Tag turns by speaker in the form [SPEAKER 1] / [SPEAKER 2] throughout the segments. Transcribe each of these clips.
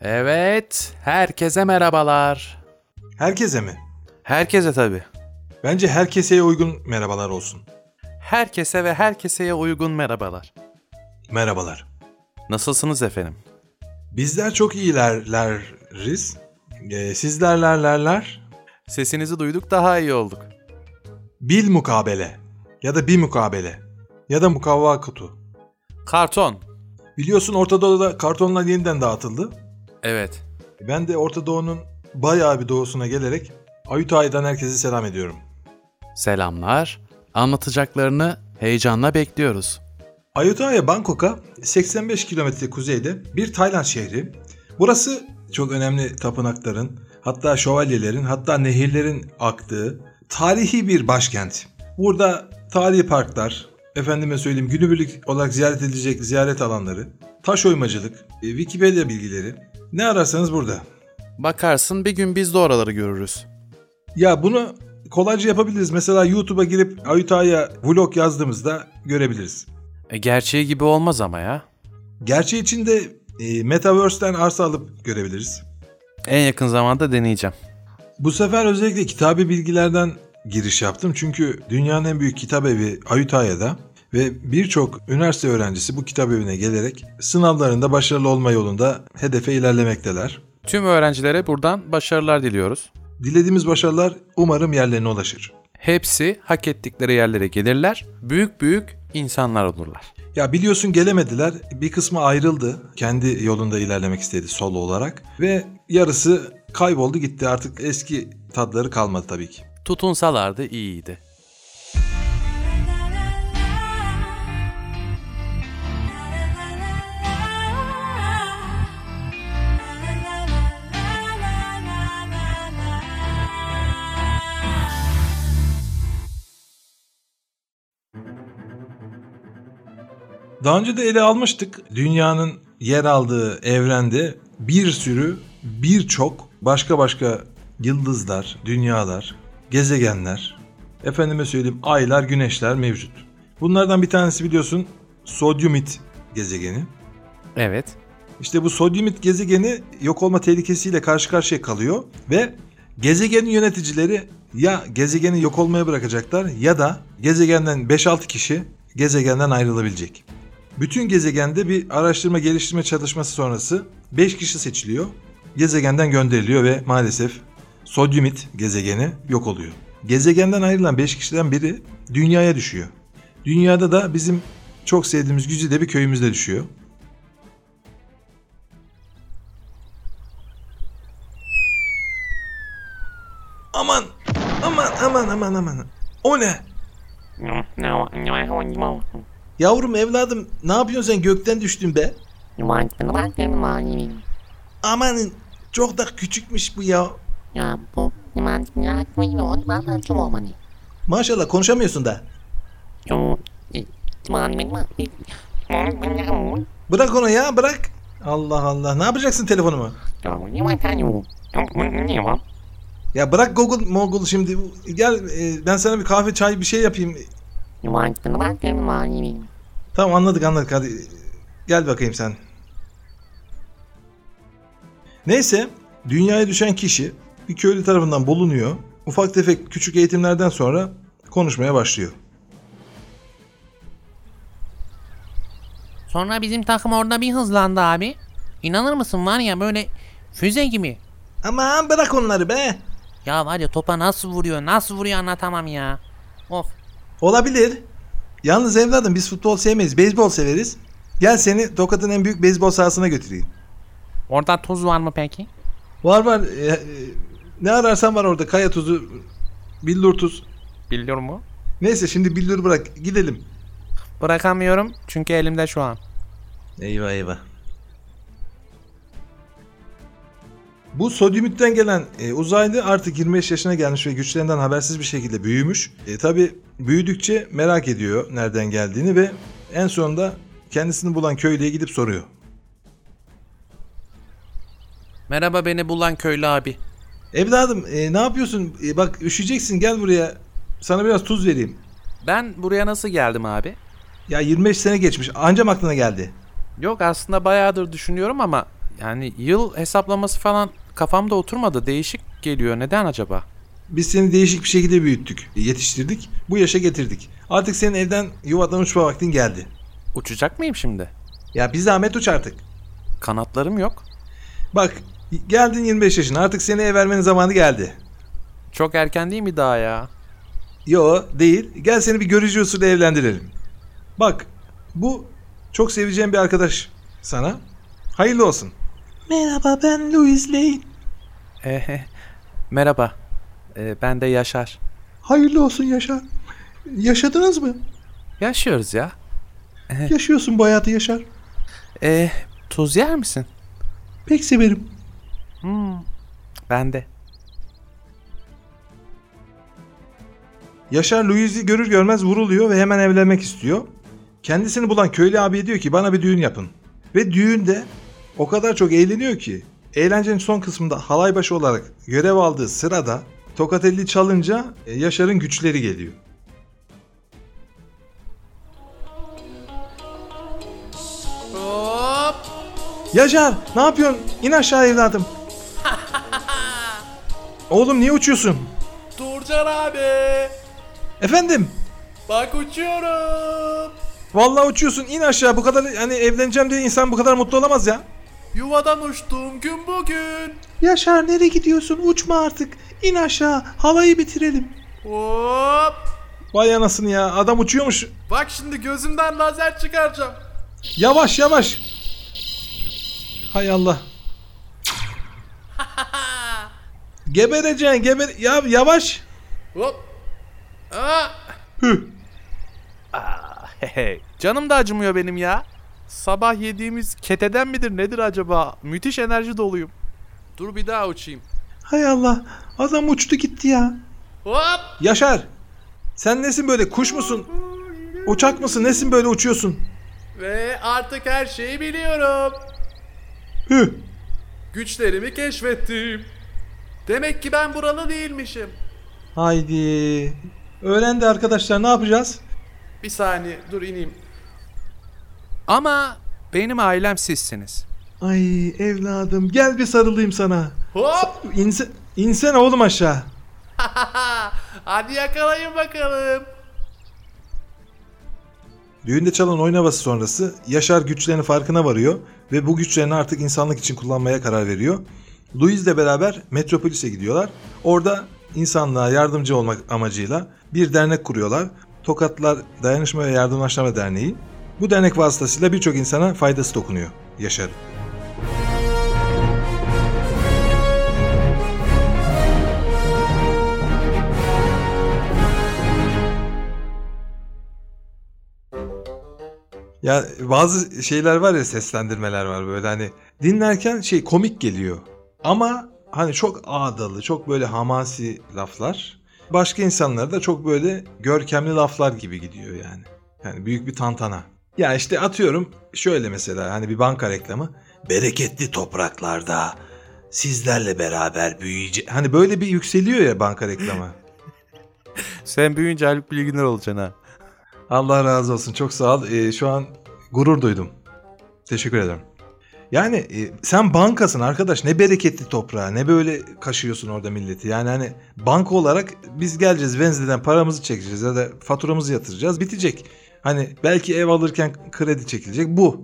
[SPEAKER 1] Evet, herkese merhabalar.
[SPEAKER 2] Herkese mi?
[SPEAKER 1] Herkese tabii.
[SPEAKER 2] Bence herkese uygun merhabalar olsun.
[SPEAKER 1] Herkese ve herkeseye uygun merhabalar.
[SPEAKER 2] Merhabalar.
[SPEAKER 1] Nasılsınız efendim?
[SPEAKER 2] Bizler çok iyilerleriz. Ee, sizlerlerlerler.
[SPEAKER 1] Sesinizi duyduk daha iyi olduk.
[SPEAKER 2] Bil mukabele. Ya da bir mukabele. Ya da mukavva kutu.
[SPEAKER 1] Karton.
[SPEAKER 2] Biliyorsun Orta Doğu'da kartonlar yeniden dağıtıldı.
[SPEAKER 1] Evet.
[SPEAKER 2] Ben de Orta Doğu'nun bayağı bir doğusuna gelerek Ayutthaya'dan herkese selam ediyorum.
[SPEAKER 1] Selamlar. Anlatacaklarını heyecanla bekliyoruz.
[SPEAKER 2] Ayutthaya Bangkok'a 85 kilometre kuzeyde bir Tayland şehri. Burası çok önemli tapınakların, hatta şövalyelerin, hatta nehirlerin aktığı tarihi bir başkent. Burada tarihi parklar, efendime söyleyeyim günübirlik olarak ziyaret edilecek ziyaret alanları, taş oymacılık, e, Wikipedia bilgileri ne ararsanız burada.
[SPEAKER 1] Bakarsın bir gün biz de oraları görürüz.
[SPEAKER 2] Ya bunu kolayca yapabiliriz. Mesela YouTube'a girip Ayutthaya vlog yazdığımızda görebiliriz.
[SPEAKER 1] E, gerçeği gibi olmaz ama ya.
[SPEAKER 2] Gerçi için de e, Metaverse'den arsa alıp görebiliriz.
[SPEAKER 1] En yakın zamanda deneyeceğim.
[SPEAKER 2] Bu sefer özellikle kitabi bilgilerden giriş yaptım. Çünkü dünyanın en büyük kitap evi Ayutthaya'da ve birçok üniversite öğrencisi bu kitap evine gelerek sınavlarında başarılı olma yolunda hedefe ilerlemekteler.
[SPEAKER 1] Tüm öğrencilere buradan başarılar diliyoruz.
[SPEAKER 2] Dilediğimiz başarılar umarım yerlerine ulaşır.
[SPEAKER 1] Hepsi hak ettikleri yerlere gelirler, büyük büyük insanlar olurlar.
[SPEAKER 2] Ya biliyorsun gelemediler. Bir kısmı ayrıldı. Kendi yolunda ilerlemek istedi solo olarak. Ve yarısı kayboldu gitti. Artık eski tadları kalmadı tabii ki.
[SPEAKER 1] Tutunsalardı iyiydi.
[SPEAKER 2] Daha önce de ele almıştık. Dünyanın yer aldığı evrende bir sürü, birçok başka başka yıldızlar, dünyalar, gezegenler, efendime söyleyeyim aylar, güneşler mevcut. Bunlardan bir tanesi biliyorsun Sodyumit gezegeni.
[SPEAKER 1] Evet.
[SPEAKER 2] İşte bu Sodyumit gezegeni yok olma tehlikesiyle karşı karşıya kalıyor ve gezegenin yöneticileri ya gezegeni yok olmaya bırakacaklar ya da gezegenden 5-6 kişi gezegenden ayrılabilecek. Bütün gezegende bir araştırma geliştirme çalışması sonrası 5 kişi seçiliyor. Gezegenden gönderiliyor ve maalesef Sodyumit gezegeni yok oluyor. Gezegenden ayrılan 5 kişiden biri dünyaya düşüyor. Dünyada da bizim çok sevdiğimiz Güzide bir köyümüzde düşüyor. Aman! Aman aman aman aman. O ne?
[SPEAKER 3] No, no, no, I want more.
[SPEAKER 2] Yavrum evladım ne yapıyorsun sen gökten düştün be?
[SPEAKER 3] You want me want me money.
[SPEAKER 2] Amanın çok da küçükmüş bu ya.
[SPEAKER 3] Ya bu you want me want me want me want more money.
[SPEAKER 2] Maşallah konuşamıyorsun da.
[SPEAKER 3] You you want me want me want me want
[SPEAKER 2] Bırak onu ya bırak. Allah Allah ne yapacaksın telefonumu?
[SPEAKER 3] you want you don't want you want
[SPEAKER 2] Ya bırak Google Mogul şimdi. Gel e, ben sana bir kahve çay bir şey yapayım.
[SPEAKER 3] you want me want me money.
[SPEAKER 2] Tamam anladık anladık hadi. Gel bakayım sen. Neyse dünyaya düşen kişi bir köylü tarafından bulunuyor. Ufak tefek küçük eğitimlerden sonra konuşmaya başlıyor.
[SPEAKER 4] Sonra bizim takım orada bir hızlandı abi. İnanır mısın var ya böyle füze gibi.
[SPEAKER 2] Aman bırak onları be.
[SPEAKER 4] Ya var ya topa nasıl vuruyor nasıl vuruyor anlatamam ya. Of
[SPEAKER 2] Olabilir. Yalnız evladım biz futbol sevmeyiz, beyzbol severiz. Gel seni Tokat'ın en büyük beyzbol sahasına götüreyim.
[SPEAKER 4] orada tuz var mı peki?
[SPEAKER 2] Var var. e, e, ne ararsan var orada. Kaya tuzu, billur tuz.
[SPEAKER 4] Biliyor mu?
[SPEAKER 2] Neyse şimdi billur bırak. Gidelim.
[SPEAKER 4] Bırakamıyorum çünkü elimde şu an.
[SPEAKER 2] Eyvah eyvah. Bu Sodyumüt'ten gelen e, uzaylı artık 25 yaşına gelmiş ve güçlerinden habersiz bir şekilde büyümüş. E, Tabi büyüdükçe merak ediyor nereden geldiğini ve en sonunda kendisini bulan köylüye gidip soruyor.
[SPEAKER 1] Merhaba beni bulan köylü abi.
[SPEAKER 2] Evladım e, ne yapıyorsun? E, bak üşüyeceksin gel buraya. Sana biraz tuz vereyim.
[SPEAKER 1] Ben buraya nasıl geldim abi?
[SPEAKER 2] Ya 25 sene geçmiş ancam aklına geldi.
[SPEAKER 1] Yok aslında bayağıdır düşünüyorum ama Yani yıl hesaplaması falan kafamda oturmadı. Değişik geliyor. Neden acaba?
[SPEAKER 2] Biz seni değişik bir şekilde büyüttük, yetiştirdik, bu yaşa getirdik. Artık senin evden yuvadan uçma vaktin geldi.
[SPEAKER 1] Uçacak mıyım şimdi?
[SPEAKER 2] Ya bir zahmet uç artık.
[SPEAKER 1] Kanatlarım yok.
[SPEAKER 2] Bak geldin 25 yaşına artık seni ev vermenin zamanı geldi.
[SPEAKER 1] Çok erken değil mi daha ya?
[SPEAKER 2] Yo değil. Gel seni bir görücü usulü evlendirelim. Bak bu çok seveceğim bir arkadaş sana. Hayırlı olsun. Merhaba ben Louis Lane.
[SPEAKER 1] Ehe. Merhaba. Ee, ben de Yaşar.
[SPEAKER 2] Hayırlı olsun Yaşar. Yaşadınız mı?
[SPEAKER 1] Yaşıyoruz ya.
[SPEAKER 2] Yaşıyorsun bu hayatı Yaşar.
[SPEAKER 1] Ee, tuz yer misin?
[SPEAKER 2] Pek severim.
[SPEAKER 1] Ben de.
[SPEAKER 2] Yaşar Louis'i görür görmez vuruluyor ve hemen evlenmek istiyor. Kendisini bulan köylü abiye diyor ki bana bir düğün yapın. Ve düğünde o kadar çok eğleniyor ki eğlencenin son kısmında halaybaşı olarak görev aldığı sırada tokatelli çalınca e, Yaşar'ın güçleri geliyor.
[SPEAKER 4] Hop.
[SPEAKER 2] Yaşar ne yapıyorsun? İn aşağı evladım. Oğlum niye uçuyorsun?
[SPEAKER 4] Durcan abi.
[SPEAKER 2] Efendim?
[SPEAKER 4] Bak uçuyorum.
[SPEAKER 2] Vallahi uçuyorsun in aşağı bu kadar hani evleneceğim diye insan bu kadar mutlu olamaz ya.
[SPEAKER 4] Yuvadan uçtuğum gün bugün.
[SPEAKER 2] Yaşar nereye gidiyorsun uçma artık in aşağı halayı bitirelim.
[SPEAKER 4] Hop.
[SPEAKER 2] Vay anasını ya adam uçuyormuş.
[SPEAKER 4] Bak şimdi gözümden lazer çıkaracağım.
[SPEAKER 2] Yavaş yavaş. Hay Allah. Gebereceksin geber... Ya yavaş.
[SPEAKER 4] Hop. Aa.
[SPEAKER 2] Hüh.
[SPEAKER 1] Hey, hey. Canım da acımıyor benim ya. Sabah yediğimiz keteden midir nedir acaba? Müthiş enerji doluyum. Dur bir daha uçayım.
[SPEAKER 2] Hay Allah. Adam uçtu gitti ya.
[SPEAKER 4] Hop.
[SPEAKER 2] Yaşar. Sen nesin böyle kuş musun? Uçak mısın? Nesin böyle uçuyorsun?
[SPEAKER 4] Ve artık her şeyi biliyorum.
[SPEAKER 2] Hüh.
[SPEAKER 4] Güçlerimi keşfettim. Demek ki ben buralı değilmişim.
[SPEAKER 2] Haydi. Öğrendi arkadaşlar ne yapacağız?
[SPEAKER 4] Bir saniye dur ineyim.
[SPEAKER 1] Ama benim ailem sizsiniz.
[SPEAKER 2] Ay evladım gel bir sarılayım sana.
[SPEAKER 4] Hop.
[SPEAKER 2] İnse, insene oğlum aşağı.
[SPEAKER 4] Hadi yakalayın bakalım.
[SPEAKER 2] Düğünde çalan oyun havası sonrası Yaşar güçlerinin farkına varıyor ve bu güçlerini artık insanlık için kullanmaya karar veriyor. Louis ile beraber Metropolis'e gidiyorlar. Orada insanlığa yardımcı olmak amacıyla bir dernek kuruyorlar. Tokatlar Dayanışma ve Yardımlaşma Derneği. Bu dernek vasıtasıyla birçok insana faydası dokunuyor Yaşar'ın. Ya bazı şeyler var ya seslendirmeler var böyle hani dinlerken şey komik geliyor. Ama hani çok ağdalı, çok böyle hamasi laflar. Başka insanlara da çok böyle görkemli laflar gibi gidiyor yani. Yani büyük bir tantana. Ya işte atıyorum şöyle mesela hani bir banka reklamı. Bereketli topraklarda sizlerle beraber büyüyecek. Hani böyle bir yükseliyor ya banka reklamı.
[SPEAKER 1] Sen büyüyünce Haluk Bilginer olacaksın ha.
[SPEAKER 2] Allah razı olsun. Çok sağ ol. Ee, şu an gurur duydum. Teşekkür ederim. Yani e, sen bankasın arkadaş. Ne bereketli toprağa ne böyle kaşıyorsun orada milleti. Yani hani banka olarak biz geleceğiz Venzi'den paramızı çekeceğiz ya da faturamızı yatıracağız bitecek. Hani belki ev alırken kredi çekilecek bu.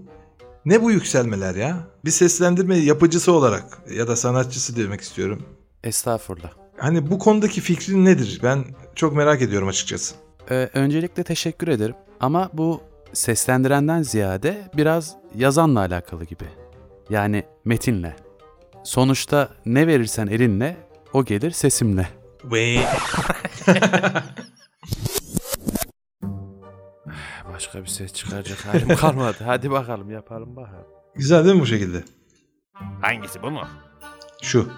[SPEAKER 2] Ne bu yükselmeler ya? Bir seslendirme yapıcısı olarak ya da sanatçısı demek istiyorum.
[SPEAKER 1] Estağfurullah.
[SPEAKER 2] Hani bu konudaki fikrin nedir? Ben çok merak ediyorum açıkçası.
[SPEAKER 5] Ee, öncelikle teşekkür ederim. Ama bu seslendirenden ziyade biraz yazanla alakalı gibi. Yani metinle. Sonuçta ne verirsen elinle, o gelir sesimle.
[SPEAKER 1] Başka bir ses çıkaracak halim kalmadı. Hadi bakalım yapalım bakalım.
[SPEAKER 2] Güzel değil mi bu şekilde?
[SPEAKER 3] Hangisi bu mu?
[SPEAKER 2] Şu.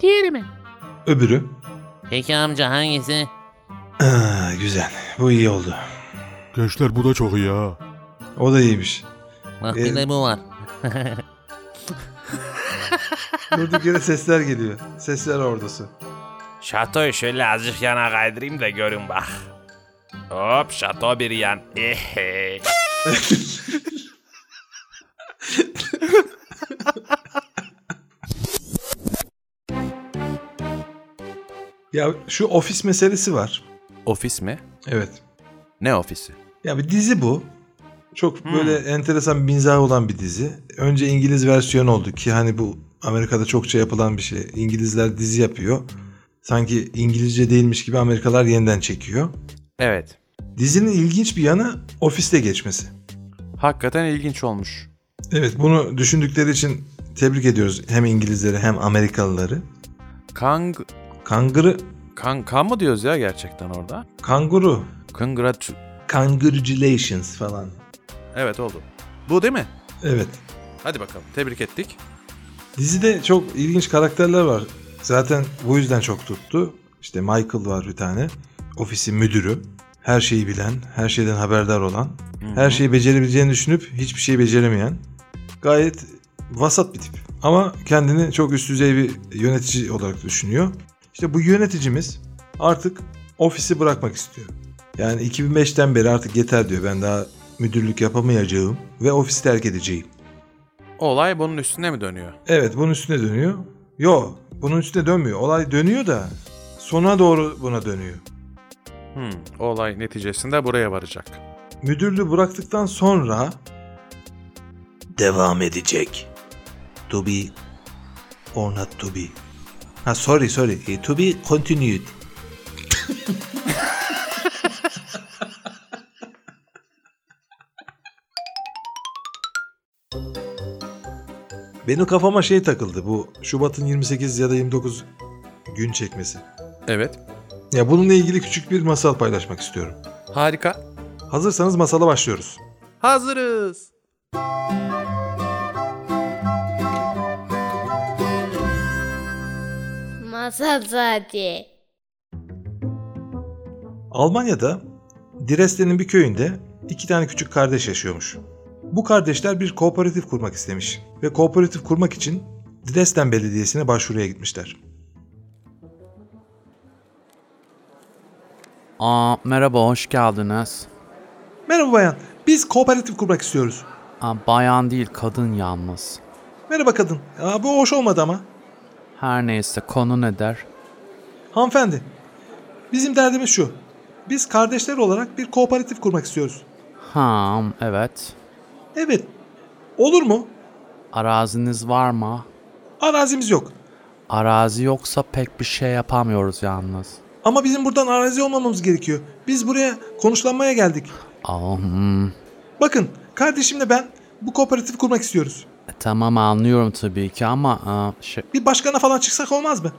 [SPEAKER 4] Diğeri mi?
[SPEAKER 2] Öbürü.
[SPEAKER 3] Peki amca hangisi?
[SPEAKER 2] Aa, Ah, güzel. Bu iyi oldu.
[SPEAKER 6] Gençler bu da çok iyi ha.
[SPEAKER 2] O da iyiymiş.
[SPEAKER 3] Bak bir de bu var.
[SPEAKER 2] Durduk yere sesler geliyor. Sesler ordusu.
[SPEAKER 7] Şatoyu şöyle azıcık yana kaydırayım da görün bak. Hop şato bir yan. Eh, Ehe.
[SPEAKER 2] Ya şu ofis meselesi var.
[SPEAKER 1] Ofis mi?
[SPEAKER 2] Evet.
[SPEAKER 1] Ne ofisi?
[SPEAKER 2] Ya bir dizi bu. Çok
[SPEAKER 3] Hmm.
[SPEAKER 2] böyle enteresan bir mizahı olan bir dizi. Önce İngiliz versiyonu oldu ki hani bu Amerika'da çokça yapılan bir şey. İngilizler dizi yapıyor. Sanki İngilizce değilmiş gibi Amerikalar yeniden çekiyor.
[SPEAKER 1] Evet.
[SPEAKER 2] Dizinin ilginç bir yanı ofiste geçmesi.
[SPEAKER 1] Hakikaten ilginç olmuş.
[SPEAKER 2] Evet bunu düşündükleri için tebrik ediyoruz hem İngilizleri hem Amerikalıları.
[SPEAKER 1] Kang...
[SPEAKER 2] Kanguru,
[SPEAKER 1] Kan, kan mı diyoruz ya gerçekten orada?
[SPEAKER 2] kanguru,
[SPEAKER 1] Congrat...
[SPEAKER 2] congratulations falan.
[SPEAKER 1] Evet oldu. Bu değil mi?
[SPEAKER 2] Evet.
[SPEAKER 1] Hadi bakalım tebrik ettik.
[SPEAKER 2] Dizide çok ilginç karakterler var. Zaten bu yüzden çok tuttu. İşte Michael var bir tane. Ofisi müdürü. Her şeyi bilen, her şeyden haberdar olan. Her şeyi becerebileceğini düşünüp hiçbir şeyi beceremeyen. Gayet vasat bir tip. Ama kendini çok üst düzey bir yönetici olarak düşünüyor. İşte bu yöneticimiz artık ofisi bırakmak istiyor. Yani 2005'ten beri artık yeter diyor. Ben daha müdürlük yapamayacağım ve ofisi terk edeceğim.
[SPEAKER 1] Olay bunun üstüne mi dönüyor?
[SPEAKER 2] Evet bunun üstüne dönüyor. Yo bunun üstüne dönmüyor. Olay dönüyor da sona doğru buna dönüyor.
[SPEAKER 1] Hmm, olay neticesinde buraya varacak.
[SPEAKER 2] Müdürlüğü bıraktıktan sonra devam edecek. To be or not to be. Ha sorry sorry. E, To be continued. Benim kafama şey takıldı bu Şubat'ın 28 ya da 29 gün çekmesi.
[SPEAKER 1] Evet.
[SPEAKER 2] Ya bununla ilgili küçük bir masal paylaşmak istiyorum.
[SPEAKER 1] Harika.
[SPEAKER 2] Hazırsanız masala başlıyoruz.
[SPEAKER 7] Hazırız.
[SPEAKER 8] Masal saati.
[SPEAKER 2] Almanya'da Dresden'in bir köyünde iki tane küçük kardeş yaşıyormuş. Bu kardeşler bir kooperatif kurmak istemiş ve kooperatif kurmak için Dresden Belediyesi'ne başvuruya gitmişler.
[SPEAKER 4] Aa, merhaba hoş geldiniz.
[SPEAKER 2] Merhaba bayan, biz kooperatif kurmak istiyoruz.
[SPEAKER 4] Aa, bayan değil kadın yalnız.
[SPEAKER 2] Merhaba kadın, Aa, bu hoş olmadı ama.
[SPEAKER 4] Her neyse konu ne der?
[SPEAKER 2] Hanımefendi, bizim derdimiz şu. Biz kardeşler olarak bir kooperatif kurmak istiyoruz.
[SPEAKER 4] Ha evet.
[SPEAKER 2] Evet, olur mu?
[SPEAKER 4] Araziniz var mı?
[SPEAKER 2] Arazimiz yok.
[SPEAKER 4] Arazi yoksa pek bir şey yapamıyoruz yalnız.
[SPEAKER 2] Ama bizim buradan arazi olmamamız gerekiyor. Biz buraya konuşlanmaya geldik.
[SPEAKER 4] Aa, hmm.
[SPEAKER 2] Bakın kardeşimle ben bu kooperatifi kurmak istiyoruz.
[SPEAKER 4] E, Tamam anlıyorum tabii ki ama aa, şey,
[SPEAKER 2] Bir başkana falan çıksak olmaz mı?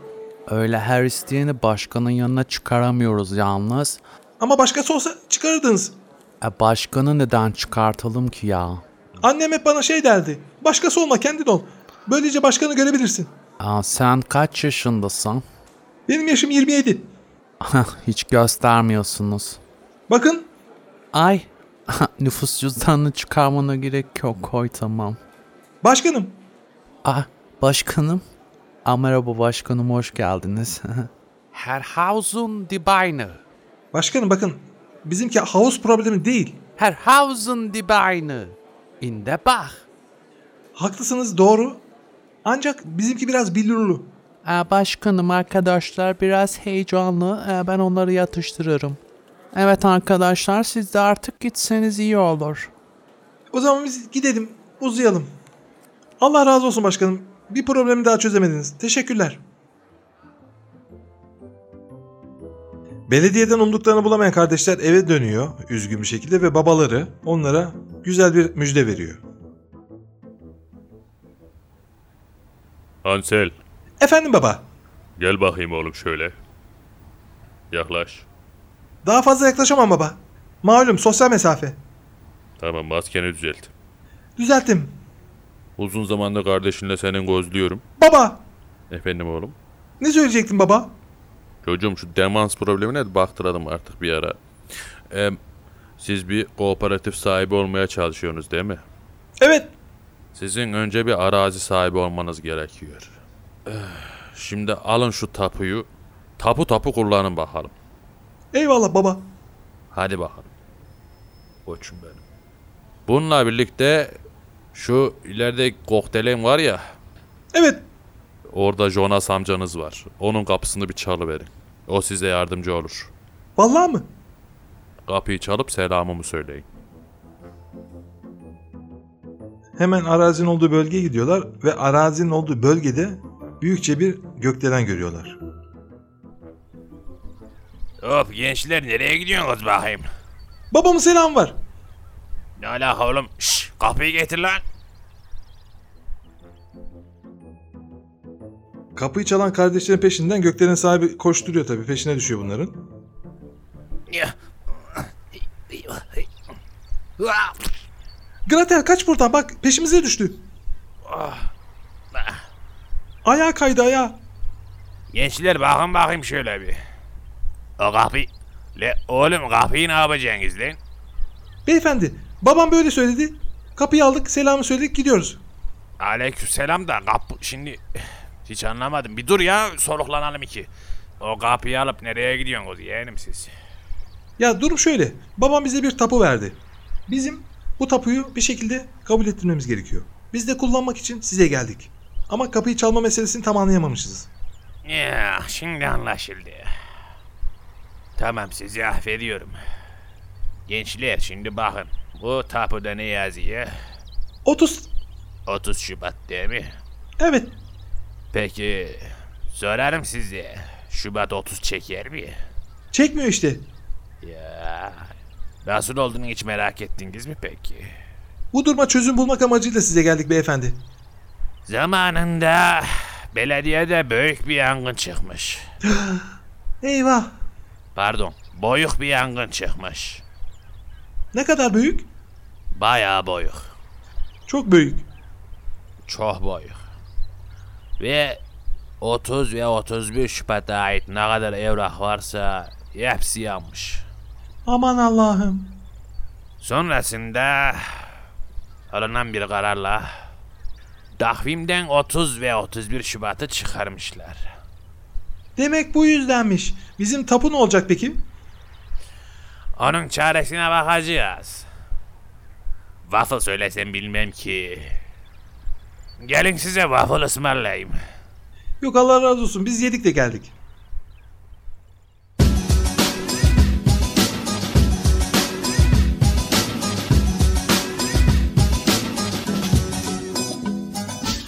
[SPEAKER 4] öyle her isteyeni başkanın yanına çıkaramıyoruz yalnız.
[SPEAKER 2] Ama başkası olsa çıkarırdınız.
[SPEAKER 4] E, başkanı neden çıkartalım ki ya?
[SPEAKER 2] Annem hep bana şey derdi. Başkası olma kendin ol. Böylece başkanı görebilirsin.
[SPEAKER 4] Aa, sen kaç yaşındasın?
[SPEAKER 2] Benim yaşım 27.
[SPEAKER 4] Hiç göstermiyorsunuz.
[SPEAKER 2] Bakın
[SPEAKER 4] Ay nüfus cüzdanını çıkarmana gerek yok koy tamam.
[SPEAKER 2] başkanım.
[SPEAKER 4] Ah başkanım. Aa, merhaba başkanım hoş geldiniz.
[SPEAKER 1] Herr Hausen die Beine.
[SPEAKER 2] Başkanım bakın. Bizimki havuz problemi değil.
[SPEAKER 1] Herr Hausen die Beine. In der Bach.
[SPEAKER 2] Haklısınız doğru. Ancak bizimki biraz billurlu.
[SPEAKER 4] Aa, Ee, başkanım arkadaşlar biraz heyecanlı Ee, ben onları yatıştırırım. Evet arkadaşlar siz de artık gitseniz iyi olur.
[SPEAKER 2] O zaman biz gidelim uzayalım. Allah razı olsun başkanım. Bir problemi daha çözemediniz. Teşekkürler. Belediyeden umduklarını bulamayan kardeşler eve dönüyor üzgün bir şekilde ve babaları onlara güzel bir müjde veriyor.
[SPEAKER 9] Ansel,
[SPEAKER 2] Efendim baba,
[SPEAKER 9] gel bakayım oğlum şöyle. Yaklaş.
[SPEAKER 2] daha fazla yaklaşamam baba. Malum sosyal mesafe.
[SPEAKER 9] Tamam maskeni düzelt.
[SPEAKER 2] Düzelttim.
[SPEAKER 9] Uzun zamanda kardeşinle senin gözlüyorum.
[SPEAKER 2] Baba,
[SPEAKER 9] Efendim oğlum.
[SPEAKER 2] ne söyleyecektin baba?
[SPEAKER 9] Çocuğum şu demans problemine de baktıralım artık bir ara. Em, siz bir kooperatif sahibi olmaya çalışıyorsunuz değil mi?
[SPEAKER 2] Evet,
[SPEAKER 9] Sizin önce bir arazi sahibi olmanız gerekiyor. Eh, Şimdi alın şu tapuyu. Tapu tapu kullanın bakalım.
[SPEAKER 2] eyvallah baba.
[SPEAKER 9] Hadi bakalım. Koçum benim. Bununla birlikte şu ileride kokteylim var ya.
[SPEAKER 2] Evet,
[SPEAKER 9] Orada Jonas amcanız var. Onun kapısını bir çalıverin.
[SPEAKER 10] O size yardımcı olur.
[SPEAKER 2] Vallahi mı?
[SPEAKER 10] Kapıyı çalıp selamımı söyleyin.
[SPEAKER 2] Hemen arazinin olduğu bölgeye gidiyorlar ve arazinin olduğu bölgede büyükçe bir gökdelen görüyorlar.
[SPEAKER 7] Hop gençler nereye gidiyorsunuz bakayım?
[SPEAKER 2] Babamın selam var.
[SPEAKER 7] Ne alaka oğlum? Şşş kapıyı getir lan.
[SPEAKER 2] Kapıyı çalan kardeşlerin peşinden gökdelen sahibi koşturuyor tabii. Peşine düşüyor bunların. Gratel kaç buradan bak peşimize düştü. Ayağa kaydı ayağa.
[SPEAKER 7] Gençler bakın bakayım şöyle bir. O kapı... Le oğlum kapıyı ne yapacaksınız lan?
[SPEAKER 2] Beyefendi babam böyle söyledi. Kapıyı aldık selamı söyledik gidiyoruz.
[SPEAKER 7] Aleykümselam da kapı... Şimdi hiç anlamadım. Bir dur ya soluklanalım iki. O kapıyı alıp nereye gidiyorsunuz yeğenim siz?
[SPEAKER 2] Ya durum şöyle. Babam bize bir tapu verdi. Bizim bu tapuyu bir şekilde kabul ettirmemiz gerekiyor. Biz de kullanmak için size geldik. Ama kapıyı çalma meselesini tam anlayamamışız.
[SPEAKER 7] Ya şimdi anlaşıldı. Tamam sizi affediyorum. Gençler şimdi bakın. Bu tapuda ne yazıyor?
[SPEAKER 2] 30
[SPEAKER 7] 30 Şubat değil mi?
[SPEAKER 2] evet
[SPEAKER 7] Peki sorarım size. Şubat 30 çeker mi?
[SPEAKER 2] çekmiyor işte.
[SPEAKER 7] Ya nasıl olduğunu hiç merak ettiniz mi peki?
[SPEAKER 2] Bu duruma çözüm bulmak amacıyla size geldik beyefendi.
[SPEAKER 7] Zamanında belediyede büyük bir yangın çıkmış.
[SPEAKER 2] Eyvah
[SPEAKER 7] Pardon, boyuk bir yangın çıkmış.
[SPEAKER 2] ne kadar büyük?
[SPEAKER 7] Bayağı boyuk.
[SPEAKER 2] Çok büyük.
[SPEAKER 7] Çox boyuq. Və 30 və 31 şübhətə aid nə qədər evraq varsa, hepsi yanmış.
[SPEAKER 2] Aman Allah'ım.
[SPEAKER 7] Sonrasında alınan bir qərarla təqvimdən 30 və 31 şübhəti çıxarmışlar.
[SPEAKER 2] Demek bu yüzdenmiş. Bizim tapu ne olacak peki?
[SPEAKER 7] Onun çaresinə baxacağız. Waffle söyləsəm bilməm ki. Gəlin sizə waffle ısmarlayım.
[SPEAKER 2] Yok Allah razı olsun biz yedik de geldik.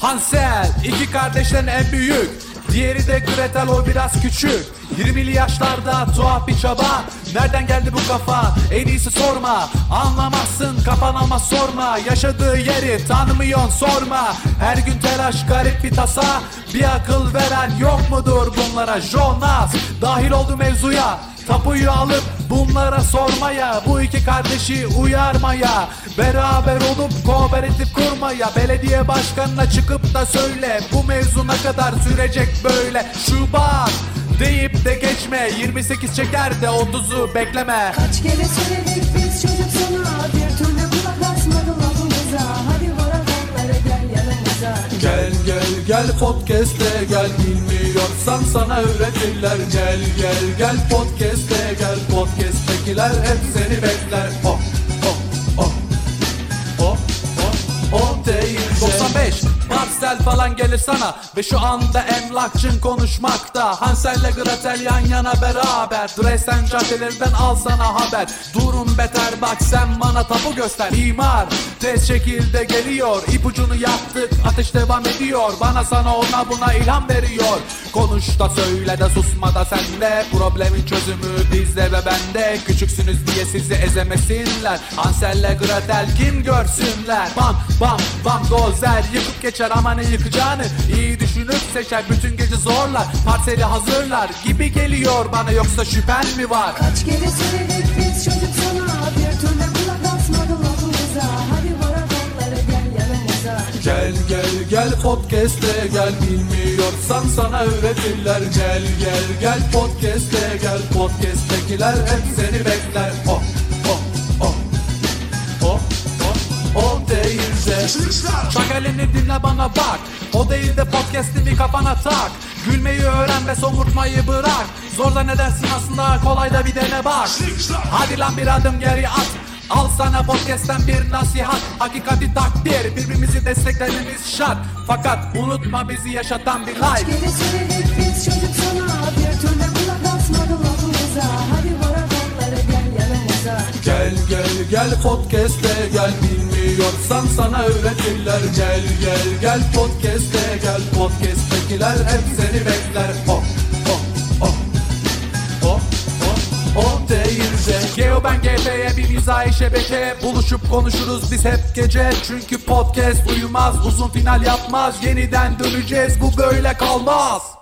[SPEAKER 9] Hansel iki kardeşten en büyük Diğeri de Gretel o biraz küçük 20'li yaşlarda tuhaf bir çaba Nereden geldi bu kafa en iyisi sorma Anlamazsın kafan ama sorma Yaşadığı yeri tanımıyorsun sorma Her gün telaş garip bir tasa Bir akıl veren yok mudur bunlara Jonas dahil oldu mevzuya Tapuyu alıp bunlara sormaya Bu iki kardeşi uyarmaya Beraber olup kooperatif kurmaya Belediye başkanına çıkıp da söyle Bu mevzu ne kadar sürecek böyle Şubat deyip de geçme 28 çeker de 30'u bekleme
[SPEAKER 11] Kaç kere söyledik biz çocuk sana Bir türlü kulak asmadın lafımıza Hadi bana onlara gel yanımıza
[SPEAKER 9] Gel gel gel podcast'e gel Bilmiyorsan sana öğretirler Gel gel gel podcast'e gel Podcast'tekiler hep seni bekler Hop hop hop Hop hop hop değil 95 Parsel falan gelir sana Ve şu anda emlakçın konuşmakta Hansel'le Gretel yan yana beraber Dresden caddelerden al sana haber Durum beter bak sen bana tapu göster İmar tez şekilde geliyor İpucunu yaptık ateş devam ediyor Bana sana ona buna ilham veriyor Konuş da söyle de susma da sen de Problemin çözümü bizde ve bende Küçüksünüz diye sizi ezemesinler Hansel'le Gretel kim görsünler Bam bam bam dozer Yıkıp geçer ama ne yıkacağını iyi düşünüp seçer bütün gece zorlar Parseli hazırlar gibi geliyor bana Yoksa şüphen mi var
[SPEAKER 11] Kaç kere söyledik biz çocuk sana Bir türlü kulak asmadın lafımıza Hadi bana onlara gel yanımıza
[SPEAKER 9] Gel gel gel podcast'e gel Bilmiyorsan sana öğretirler Gel gel gel podcast'e gel Podcast'tekiler hep seni bekler Oh oh oh Oh oh oh değilse Çak elini dinle bana bak O değil de podcast'imi kafana tak Gülmeyi öğren ve somurtmayı bırak Zor da ne dersin aslında kolay da bir dene bak Hadi lan bir adım geri at Al sana podcast'ten bir nasihat Hakikati takdir Birbirimizi desteklememiz şart Fakat unutma bizi yaşatan bir
[SPEAKER 11] Kaç
[SPEAKER 9] like
[SPEAKER 11] kere söyledik biz çocuk sana Bir türlü kulak asmadın
[SPEAKER 9] Gel podcast'e gel bilmiyorsan sana öğretirler Gel gel gel podcast'e gel podcast'tekiler hep seni bekler Oh oh oh Oh oh oh değilse Geo ben GP'ye bir mizahi şebeke Buluşup konuşuruz biz hep gece Çünkü podcast uyumaz uzun final yapmaz Yeniden döneceğiz bu böyle kalmaz